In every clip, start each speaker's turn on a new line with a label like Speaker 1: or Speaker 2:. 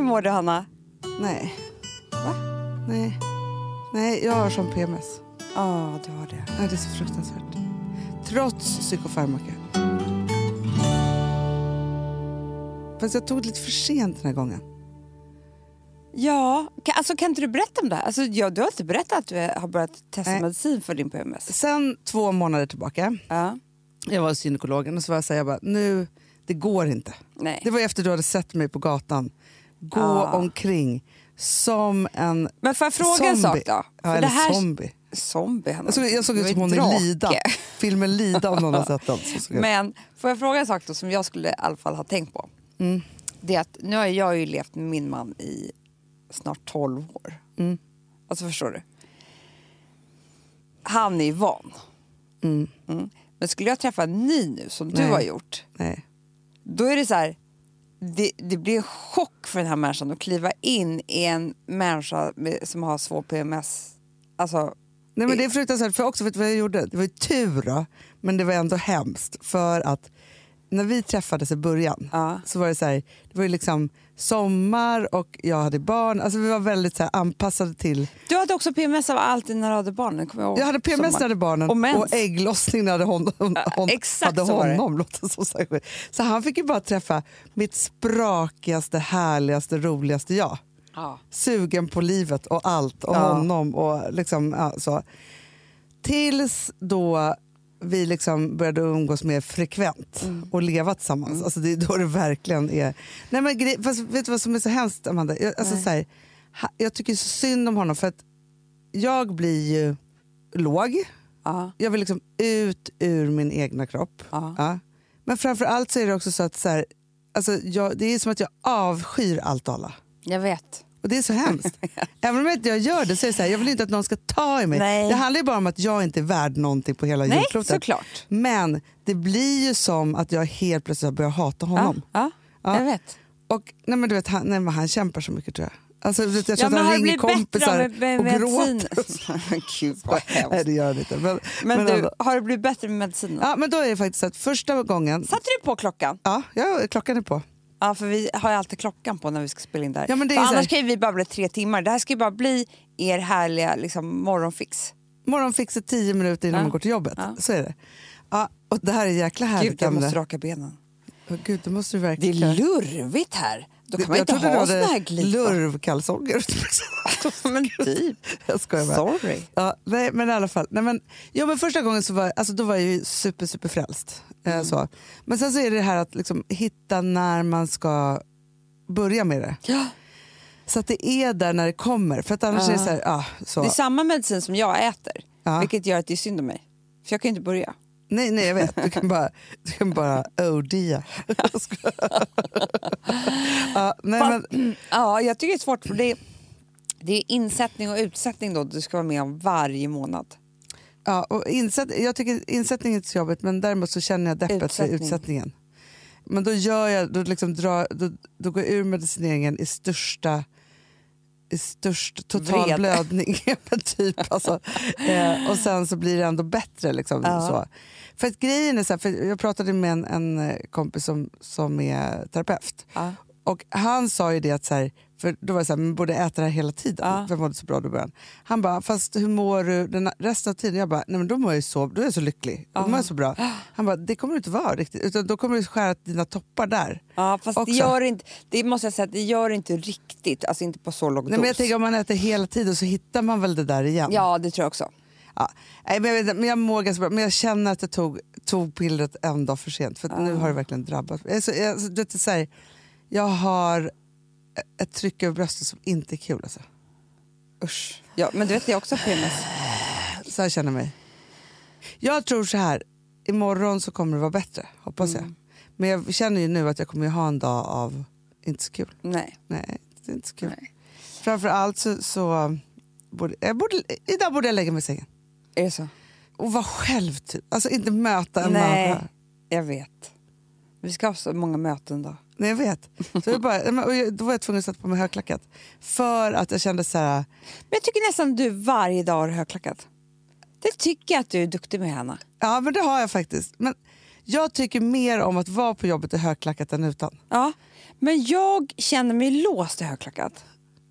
Speaker 1: mår du Hanna?
Speaker 2: Nej. Va? Nej. Nej, jag har som PMS.
Speaker 1: Ja, du har det.
Speaker 2: Nej, det är så fruktansvärt. Trots psykofarmaka. Fast jag tog det lite för sent den här gången.
Speaker 1: Ja, kan, alltså kan inte du berätta om det här? Alltså, ja, du har inte berättat att du har börjat testa
Speaker 2: Nej.
Speaker 1: medicin för din PMS.
Speaker 2: Sen två månader tillbaka,
Speaker 1: Ja.
Speaker 2: jag var hos gynekologen och så var jag så här, jag bara, nu, det går inte.
Speaker 1: Nej.
Speaker 2: Det var ju efter du hade sett mig på gatan gå
Speaker 1: Ah.
Speaker 2: omkring som en
Speaker 1: Men får jag fråga en sak
Speaker 2: zombie.
Speaker 1: då?
Speaker 2: Ja,
Speaker 1: För
Speaker 2: eller
Speaker 1: det här...
Speaker 2: zombie.
Speaker 1: Zombie, Hanna.
Speaker 2: Jag såg, jag såg
Speaker 1: Det
Speaker 2: ut
Speaker 1: var
Speaker 2: som
Speaker 1: ju
Speaker 2: hon i
Speaker 1: drake.
Speaker 2: Lida. Filmen Lida om någon har sett den. Så såg jag ut.
Speaker 1: Men får jag fråga en sak då som jag skulle i alla fall ha tänkt på?
Speaker 2: Mm.
Speaker 1: Det är att nu har jag ju levt med min man i snart 12 år.
Speaker 2: Mm.
Speaker 1: Alltså förstår du? Han är ju van. Mm. Men skulle jag träffa en ny nu som
Speaker 2: Nej.
Speaker 1: du har gjort,
Speaker 2: Nej.
Speaker 1: då är det så här. Det, det blir en chock för den här människan att kliva in i en människa med, som har svår PMS. Alltså,
Speaker 2: Nej, men det är fruktansvärt. För jag också, vet du vad jag gjorde? Det var ju tur, då, men det var ändå hemskt. För att när vi träffades i början
Speaker 1: Ja.
Speaker 2: så var det så här, det var ju liksom sommar och jag hade barn. Alltså vi var väldigt så här anpassade till...
Speaker 1: du hade också PMS av allt dina raderbarnen, kommer jag ihåg.
Speaker 2: Jag hade PMS när jag
Speaker 1: Sommar.
Speaker 2: hade barnen
Speaker 1: Och mens.
Speaker 2: och ägglossning när jag hade, hon, hon, hon,
Speaker 1: exakt
Speaker 2: hade
Speaker 1: så var det.
Speaker 2: honom. Låter det som sagt. Så han fick ju bara träffa mitt sprakigaste, härligaste, roligaste jag.
Speaker 1: Ja.
Speaker 2: sugen på livet och allt och
Speaker 1: Ja.
Speaker 2: honom och liksom ja, så. Tills då vi liksom började umgås mer frekvent
Speaker 1: Mm.
Speaker 2: och leva tillsammans. Alltså det är då det verkligen är... Nej men gre- fast vet du vad som är så hemskt Amanda? Jag, alltså, så här, ha, jag tycker så synd om honom för att jag blir ju låg.
Speaker 1: Ja.
Speaker 2: Jag vill liksom ut ur min egna kropp.
Speaker 1: Ja.
Speaker 2: Ja. Men framför allt så är det också så att så här, alltså, jag, det är som att jag avskyr allt och alla.
Speaker 1: Jag vet.
Speaker 2: Och Det är så hemskt. Även om jag inte jag gör det så är det så här, jag vill inte att någon ska ta i mig.
Speaker 1: Nej.
Speaker 2: Det handlar ju bara om att jag inte är värd någonting på hela
Speaker 1: Nej,
Speaker 2: jordklotet.
Speaker 1: såklart.
Speaker 2: Men det blir ju som att jag helt plötsligt har börjat
Speaker 1: Ja,
Speaker 2: hata honom.
Speaker 1: ja,
Speaker 2: Ja.
Speaker 1: jag vet.
Speaker 2: Och nej men du vet, han, nej, men han kämpar så mycket tror jag. Alltså, du vet, jag tror
Speaker 1: Ja, men
Speaker 2: att
Speaker 1: har
Speaker 2: han
Speaker 1: det
Speaker 2: ringer
Speaker 1: blivit bättre
Speaker 2: kompisar
Speaker 1: av med, med
Speaker 2: och
Speaker 1: medicin?
Speaker 2: gråter.
Speaker 1: Gud vad
Speaker 2: Nej
Speaker 1: hemskt.
Speaker 2: det gör han inte. Men,
Speaker 1: Men,
Speaker 2: men
Speaker 1: du,
Speaker 2: ändå.
Speaker 1: har det blivit bättre med medicinen?
Speaker 2: ja, men då är det faktiskt så att första gången,
Speaker 1: Satte du på klockan?
Speaker 2: ja, ja klockan är på.
Speaker 1: Ja, för vi har ju alltid klockan på när vi ska spela in det här.
Speaker 2: Ja, men det är
Speaker 1: för
Speaker 2: ju så här-
Speaker 1: annars kan ju vi babbla i tre timmar. Det här ska ju bara bli er härliga liksom, morgonfix.
Speaker 2: Morgonfixet tio minuter innan
Speaker 1: Ja.
Speaker 2: man går till jobbet.
Speaker 1: Ja.
Speaker 2: Så är det. Ja, och det här är jäkla härligt.
Speaker 1: Gud, jag
Speaker 2: Amanda.
Speaker 1: måste raka benen.
Speaker 2: Åh, Gud, det måste du
Speaker 1: Det är
Speaker 2: verkligen.
Speaker 1: lurvigt här. Då kan man
Speaker 2: jag
Speaker 1: inte
Speaker 2: trodde
Speaker 1: ha
Speaker 2: du
Speaker 1: såna
Speaker 2: hade
Speaker 1: här glipor.
Speaker 2: lurvkalsonger.
Speaker 1: Men typ.
Speaker 2: jag skojar bara.
Speaker 1: Sorry.
Speaker 2: Ja, nej, men i alla fall. Nej, men, ja, men första gången så var, alltså, då var jag ju super, super frälst. Eh,
Speaker 1: Mm.
Speaker 2: så. Men sen så är det det här att liksom, hitta när man ska börja med det.
Speaker 1: Ja.
Speaker 2: Så att det är där när det kommer. För att annars är det så här, ja, så.
Speaker 1: Det är samma medicin som jag äter,
Speaker 2: Ja.
Speaker 1: vilket gör att det är synd om mig. För jag kan ju inte börja.
Speaker 2: Nej, nej, jag vet. Du kan bara, du kan bara ODa. Jag skojar. ja, nej, men,
Speaker 1: Fast- ja, jag tycker det är svårt för det är, det är insättning och utsättning då du ska vara med om varje månad.
Speaker 2: Ja, och insätt, jag tycker insättningen är inte så jobbigt men däremot så känner jag deppet
Speaker 1: Utsättning.
Speaker 2: för utsättningen. Men då, gör jag, då, liksom drar, då, då går jag ur medicineringen i största i störst total
Speaker 1: Vrede.
Speaker 2: blödning. Ja, men typ, alltså. eh, och sen så blir det ändå bättre. Liksom,
Speaker 1: Ja.
Speaker 2: så. För att grejen är så här, för jag pratade med en, en eh, kompis som, som är terapeut.
Speaker 1: Ja.
Speaker 2: Och han sa ju det att så här, för då var jag så här, men borde äta det här hela tiden.
Speaker 1: Ja.
Speaker 2: För jag mådde så bra då i början. Han bara, fast hur mår du den resten av tiden? Jag bara, nej men då mår jag ju så, då är jag så lycklig. Då mår jag så bra. Han bara, det kommer du inte vara riktigt. Utan då kommer du skära dina toppar där.
Speaker 1: Ja, fast
Speaker 2: Också.
Speaker 1: det gör inte, det måste jag säga, att det gör inte riktigt, alltså inte på så låg
Speaker 2: Nej, men jag
Speaker 1: dos.
Speaker 2: tänker om man äter hela tiden så hittar man väl det där igen.
Speaker 1: Ja, det tror jag också.
Speaker 2: Ja. Nej, men, jag vet, inte, men jag mår ganska bra, men jag känner att jag tog, tog pillret en dag för sent. För att nu har det verkligen drabbat mig. Alltså, jag, alltså, du vet, det är så här, jag har ett tryck över bröstet som inte är kul. Alltså.
Speaker 1: Usch. Ja, men du vet, det är också PMS.
Speaker 2: Så här känner jag mig. Jag tror så här, imorgon så kommer det vara bättre, hoppas
Speaker 1: Mm.
Speaker 2: jag. Men jag känner ju nu att jag kommer ju ha en dag av inte så kul.
Speaker 1: Nej.
Speaker 2: Nej, det är inte så kul.
Speaker 1: Nej.
Speaker 2: Framför allt så, så borde, jag borde, idag borde jag lägga mig i sängen.
Speaker 1: Är det så?
Speaker 2: Och vara själv typ. Alltså inte möta en
Speaker 1: Nej,
Speaker 2: människa.
Speaker 1: jag vet. Vi ska ha så många möten då.
Speaker 2: Nej, jag vet. Så jag bara, men- och jag, då var jag tvungen att sätta på mig högklackat. För att jag kände så här,
Speaker 1: Men jag tycker nästan du varje dag har högklackat. Det tycker jag att du är duktig med, Hanna.
Speaker 2: ja men det har jag faktiskt. Men Jag tycker mer om att vara på jobbet i högklackat än utan.
Speaker 1: Ja. Men jag känner mig låst i högklackat.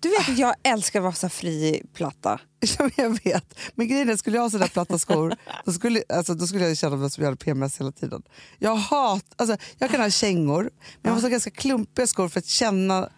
Speaker 1: Du vet att jag älskar att vara så fri platta.
Speaker 2: Ja, men jag vet. Men grejen är, skulle jag ha sådana platta skor då skulle, alltså, då skulle jag ju känna mig som jag hade PMS hela tiden. Jag hat, alltså, jag kan ha kängor, men jag måste ha ganska klumpiga skor för att känna...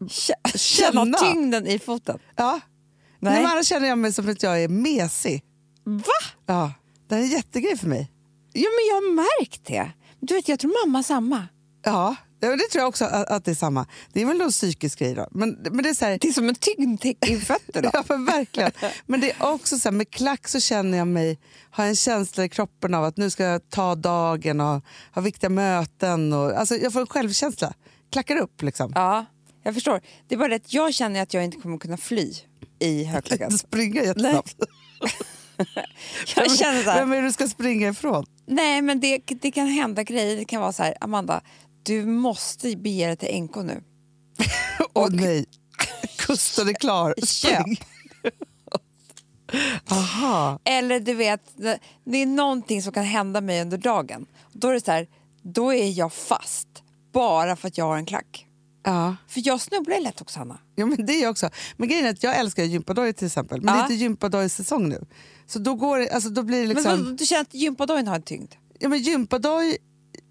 Speaker 1: Kä-
Speaker 2: Känna.
Speaker 1: Känna tyngden i foten.
Speaker 2: Ja. Nej.
Speaker 1: Nej.
Speaker 2: men annars känner jag mig som att jag är mesig.
Speaker 1: Va?
Speaker 2: Ja. Det här är en jättegrej för mig.
Speaker 1: Ja, men jag har märkt det. Du vet, jag tror mamma samma.
Speaker 2: Ja, ja, men det tror jag också att, att det är samma. Det är väl någon psykisk grej då. Men, men det är så här,
Speaker 1: Det är som en tyngd i fötterna.
Speaker 2: Ja, men verkligen. Men det är också så här, med klack så känner jag mig, har en känsla i kroppen av att nu ska jag ta dagen och ha viktiga möten. Och, alltså jag får en självkänsla. Klackar upp liksom.
Speaker 1: Ja, jag förstår. Det är bara det att jag känner att jag inte kommer kunna fly i högklackat.
Speaker 2: Springa jättesnabbt.
Speaker 1: Jag känner så här,
Speaker 2: Vem är det du ska springa ifrån?
Speaker 1: nej men det, det kan hända grejer. Det kan vara så här, Amanda, du måste bege dig till NK nu.
Speaker 2: Åh nej, kusten är klar.
Speaker 1: Köp.
Speaker 2: Spring. Aha.
Speaker 1: Eller du vet, det- det är någonting som kan hända mig under dagen. Då är det så här, då är jag fast bara för att jag har en klack.
Speaker 2: Ja.
Speaker 1: För jag snubblar ju lätt också, Hanna.
Speaker 2: Ja, men det är jag också. Men grejen är att jag älskar gympadojor till exempel. Men det är
Speaker 1: Ja.
Speaker 2: inte gympadojsäsong nu. Så då, går det, alltså, då blir det
Speaker 1: Men
Speaker 2: liksom...
Speaker 1: vadå, du känner att gympadojan har en tyngd?
Speaker 2: Ja, men gympadoj,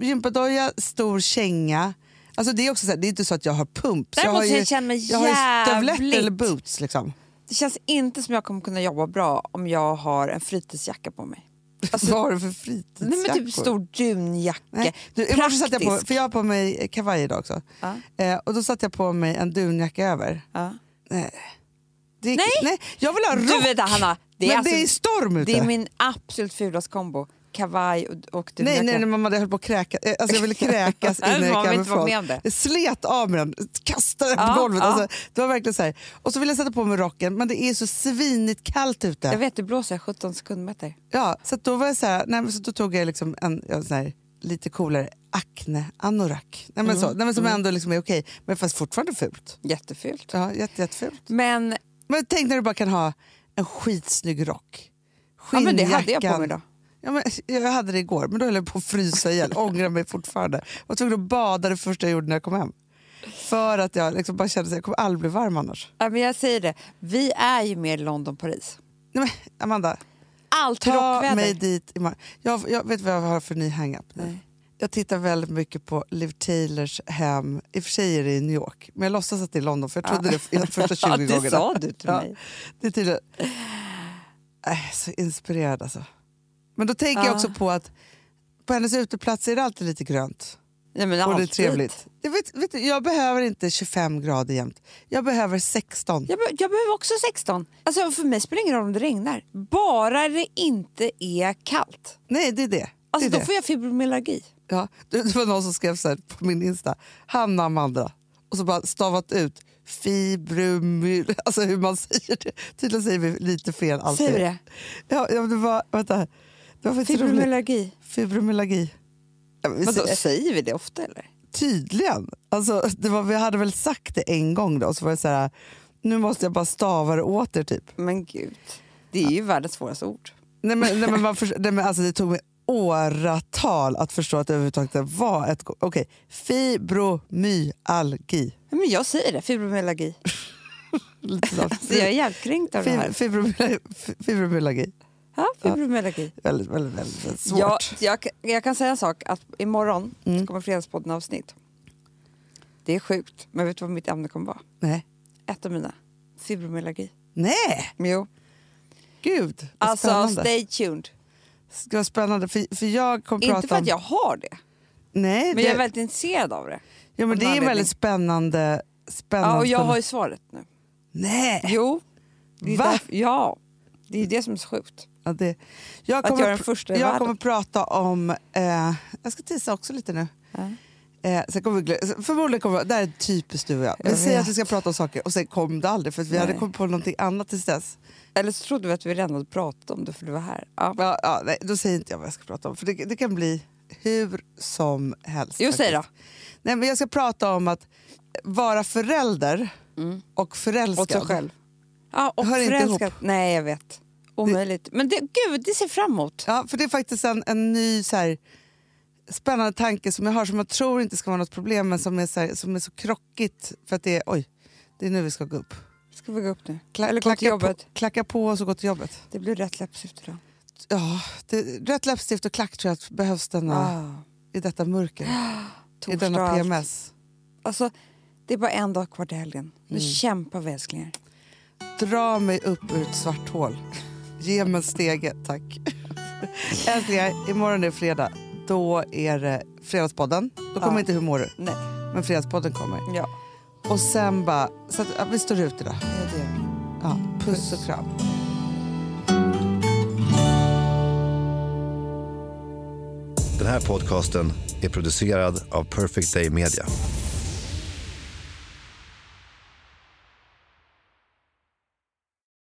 Speaker 2: gympadoja, stor känga. Alltså det är också så här, det är inte så att jag har pump. Så jag
Speaker 1: Däremot
Speaker 2: har
Speaker 1: så jag känner mig
Speaker 2: jag har ju
Speaker 1: jävligt-
Speaker 2: stövlett eller boots liksom.
Speaker 1: Det känns inte som jag kommer kunna jobba bra om jag har en fritidsjacka på mig.
Speaker 2: Vad har du för fritidsjackor?
Speaker 1: Alltså, Nej, men typ stor dunjacka.
Speaker 2: Nej, du, i morse satt jag på, för jag har på mig kavaj idag också.
Speaker 1: Ja.
Speaker 2: Eh, och då satte jag på mig en dunjacka över.
Speaker 1: Ja.
Speaker 2: Det gick-
Speaker 1: Nej.
Speaker 2: nej! Jag vill ha
Speaker 1: Du
Speaker 2: rock!
Speaker 1: vet det, Hanna, det är,
Speaker 2: men
Speaker 1: alltså,
Speaker 2: det är storm ute.
Speaker 1: det är min absolut fulaste kombo. Kavaj och, och du.
Speaker 2: Nej, nej, nej, mamma, det höll på att kräka. eh, Alltså, jag ville kräkas
Speaker 1: Nej,
Speaker 2: innan
Speaker 1: man
Speaker 2: jag
Speaker 1: vill
Speaker 2: gick
Speaker 1: inte vara
Speaker 2: hemifrån.
Speaker 1: med om det.
Speaker 2: Jag slet av mig den, kastade den
Speaker 1: Ja,
Speaker 2: på golvet.
Speaker 1: ja.
Speaker 2: Alltså, det var verkligen så här. Och så ville jag sätta på mig rocken, men det är så svinigt kallt ute.
Speaker 1: Jag vet, det blåser 17 sekundmeter.
Speaker 2: Ja, så att då var jag så här, nej, men så då tog jag liksom en, ja, sån här, lite coolare acne anorak. Nej, men så,
Speaker 1: Mm.
Speaker 2: nej, men som ändå liksom är okej, men fast fortfarande fult.
Speaker 1: Jättefult.
Speaker 2: Ja, jätte, jättefult.
Speaker 1: Men,
Speaker 2: Men tänk när du bara kan ha en skitsnygg rock.
Speaker 1: Ja, men det hade jag på
Speaker 2: Skinnjackan.
Speaker 1: mig idag.
Speaker 2: Ja, men jag hade det igår, men då höll jag på att frysa ihjäl. Ångrar mig fortfarande. Jag var tvungen att bada det första jag gjorde när jag kom hem. För att jag liksom bara kände att jag kommer aldrig bli varm annars.
Speaker 1: ja, men jag säger det, vi är ju mer London-Paris.
Speaker 2: Nej, men Amanda,
Speaker 1: Allt
Speaker 2: ta
Speaker 1: rockväder.
Speaker 2: mig dit imorgon. Jag, jag vet vad jag har för ny hang-up nu.
Speaker 1: Nej.
Speaker 2: Jag tittar väldigt mycket på Liv Taylors hem. I och för sig är det i New York, men jag låtsas att det är London för jag trodde det de första 20
Speaker 1: Ja,
Speaker 2: gångerna.
Speaker 1: det sa du till
Speaker 2: Ja,
Speaker 1: mig.
Speaker 2: det är tydligen... Äh, så inspirerad alltså. Men då tänker jag
Speaker 1: Ja.
Speaker 2: också på att på hennes uteplats är det alltid lite grönt.
Speaker 1: Nej, men
Speaker 2: Och det är
Speaker 1: alltid.
Speaker 2: trevligt. Jag, vet, vet, du, jag behöver inte 25 grader jämt. Jag behöver 16.
Speaker 1: Jag, be- jag behöver också 16. Alltså, för mig spelar det ingen roll om det regnar. Bara det inte är kallt.
Speaker 2: Nej, det är det.
Speaker 1: Alltså,
Speaker 2: det,
Speaker 1: då
Speaker 2: är det.
Speaker 1: får jag fibromyalgi.
Speaker 2: Ja, det det var någon som skrev så här på min Insta. Hanna Amanda. Och så bara stavat ut fibromyl... Alltså hur man säger det. Tydligen säger vi lite fel alltid.
Speaker 1: Säger vi det?
Speaker 2: Ja, ja men det var... Vänta. här. Det var faktiskt roligt.
Speaker 1: Fibromyalgi.
Speaker 2: Fibromyalgi. Ja, men vi
Speaker 1: Vadå,
Speaker 2: säger-
Speaker 1: säger vi det ofta eller?
Speaker 2: tydligen. Alltså, det var, vi hade väl sagt det en gång då. Så var det så här, nu måste jag bara stava det åter typ.
Speaker 1: Men gud, det är ju världens svåraste ord.
Speaker 2: Nej, men, nej, men man förs- nej, men alltså, det tog mig åratal att förstå att det överhuvudtaget var ett... Okej, fibromyalgi.
Speaker 1: Nej, Men jag säger det, fibromyalgi.
Speaker 2: Lite snabbt.
Speaker 1: Så Alltså, jag är hjälpkränkt av det
Speaker 2: Fib-
Speaker 1: här.
Speaker 2: fibromyalgi- fi- Fibromyalgi.
Speaker 1: Ja, fibromyalgi.
Speaker 2: Väldigt, väldigt, väldigt, väldigt svårt. Mm.
Speaker 1: Jag, jag, kan- jag kan säga en sak, att imorgon så kommer Fredagspodden avsnitt. Det är sjukt, men vet du vad mitt ämne kommer vara?
Speaker 2: Nej.
Speaker 1: Ett av mina. Fibromyalgi.
Speaker 2: Nej,
Speaker 1: Jo.
Speaker 2: gud vad
Speaker 1: Alltså,
Speaker 2: spännande.
Speaker 1: stay tuned.
Speaker 2: Det var spännande för, för jag kommer prata
Speaker 1: Inte för
Speaker 2: om...
Speaker 1: att jag har det,
Speaker 2: Nej,
Speaker 1: men
Speaker 2: det,
Speaker 1: jag är väldigt intresserad av det.
Speaker 2: ja, men
Speaker 1: av
Speaker 2: det är
Speaker 1: någon
Speaker 2: en väldigt
Speaker 1: anledning.
Speaker 2: spännande... spännande
Speaker 1: Ja, och jag har ju svaret nu.
Speaker 2: Nej!
Speaker 1: Jo. Det är
Speaker 2: Va?
Speaker 1: därför- ja, det är det som är så sjukt.
Speaker 2: Ja, det, jag
Speaker 1: Att
Speaker 2: kommer,
Speaker 1: jag är den första i
Speaker 2: jag
Speaker 1: världen.
Speaker 2: kommer prata om... Eh, jag ska tissa också lite nu.
Speaker 1: Ja.
Speaker 2: Eh, sen kommer vi, glö- förmodligen kommer det här är typiskt du och jag. Vi
Speaker 1: Jag
Speaker 2: säger
Speaker 1: vet.
Speaker 2: att vi ska prata om saker och sen kom det aldrig för att vi hade
Speaker 1: Nej.
Speaker 2: kommit på någonting annat tills dess.
Speaker 1: Eller så trodde vi att vi redan hade pratat om det för du var här. Ja.
Speaker 2: Ja, ja, nej, då säger inte jag vad jag ska prata om för det, det kan bli hur som helst.
Speaker 1: Jo, säg då.
Speaker 2: Nej, men jag ska prata om att vara förälder och förälskad.
Speaker 1: Mm. Åt sig själv. Ja, och
Speaker 2: Hör inte
Speaker 1: förälskad. Nej, jag vet. Omöjligt. Men det, gud, det ser fram emot.
Speaker 2: Ja, för det är faktiskt en, en ny så här, spännande tanke som jag har som jag tror inte ska vara något problem men som är så, här, som är så krockigt för att det är, oj, det är nu vi ska gå upp.
Speaker 1: Ska vi gå upp nu?
Speaker 2: Kla-
Speaker 1: Eller gå
Speaker 2: klacka
Speaker 1: till jobbet.
Speaker 2: På, klacka på oss och gå till jobbet.
Speaker 1: Det blir rätt läppstift idag.
Speaker 2: Ja, det, rätt läppstift och klack tror jag att behövs denna,
Speaker 1: Ah,
Speaker 2: i detta mörker. I
Speaker 1: torsdag och
Speaker 2: denna
Speaker 1: allt.
Speaker 2: PMS.
Speaker 1: Alltså, det är bara en dag kvar till helgen. Nu kämpar vi älsklingar.
Speaker 2: Dra mig upp ur ett svart hål. Ge mig en stege, tack. Älsklingar, imorgon är fredag. Då är det Fredagspodden. Då kommer
Speaker 1: Ja.
Speaker 2: inte Hur mår du?
Speaker 1: Nej,
Speaker 2: Men Fredagspodden kommer.
Speaker 1: ja.
Speaker 2: Och sen bara... Så att, ja, vi står ut idag.
Speaker 1: ja det gör vi.
Speaker 2: Ja, puss och kram.
Speaker 3: Den här podcasten är producerad av Perfect Day Media.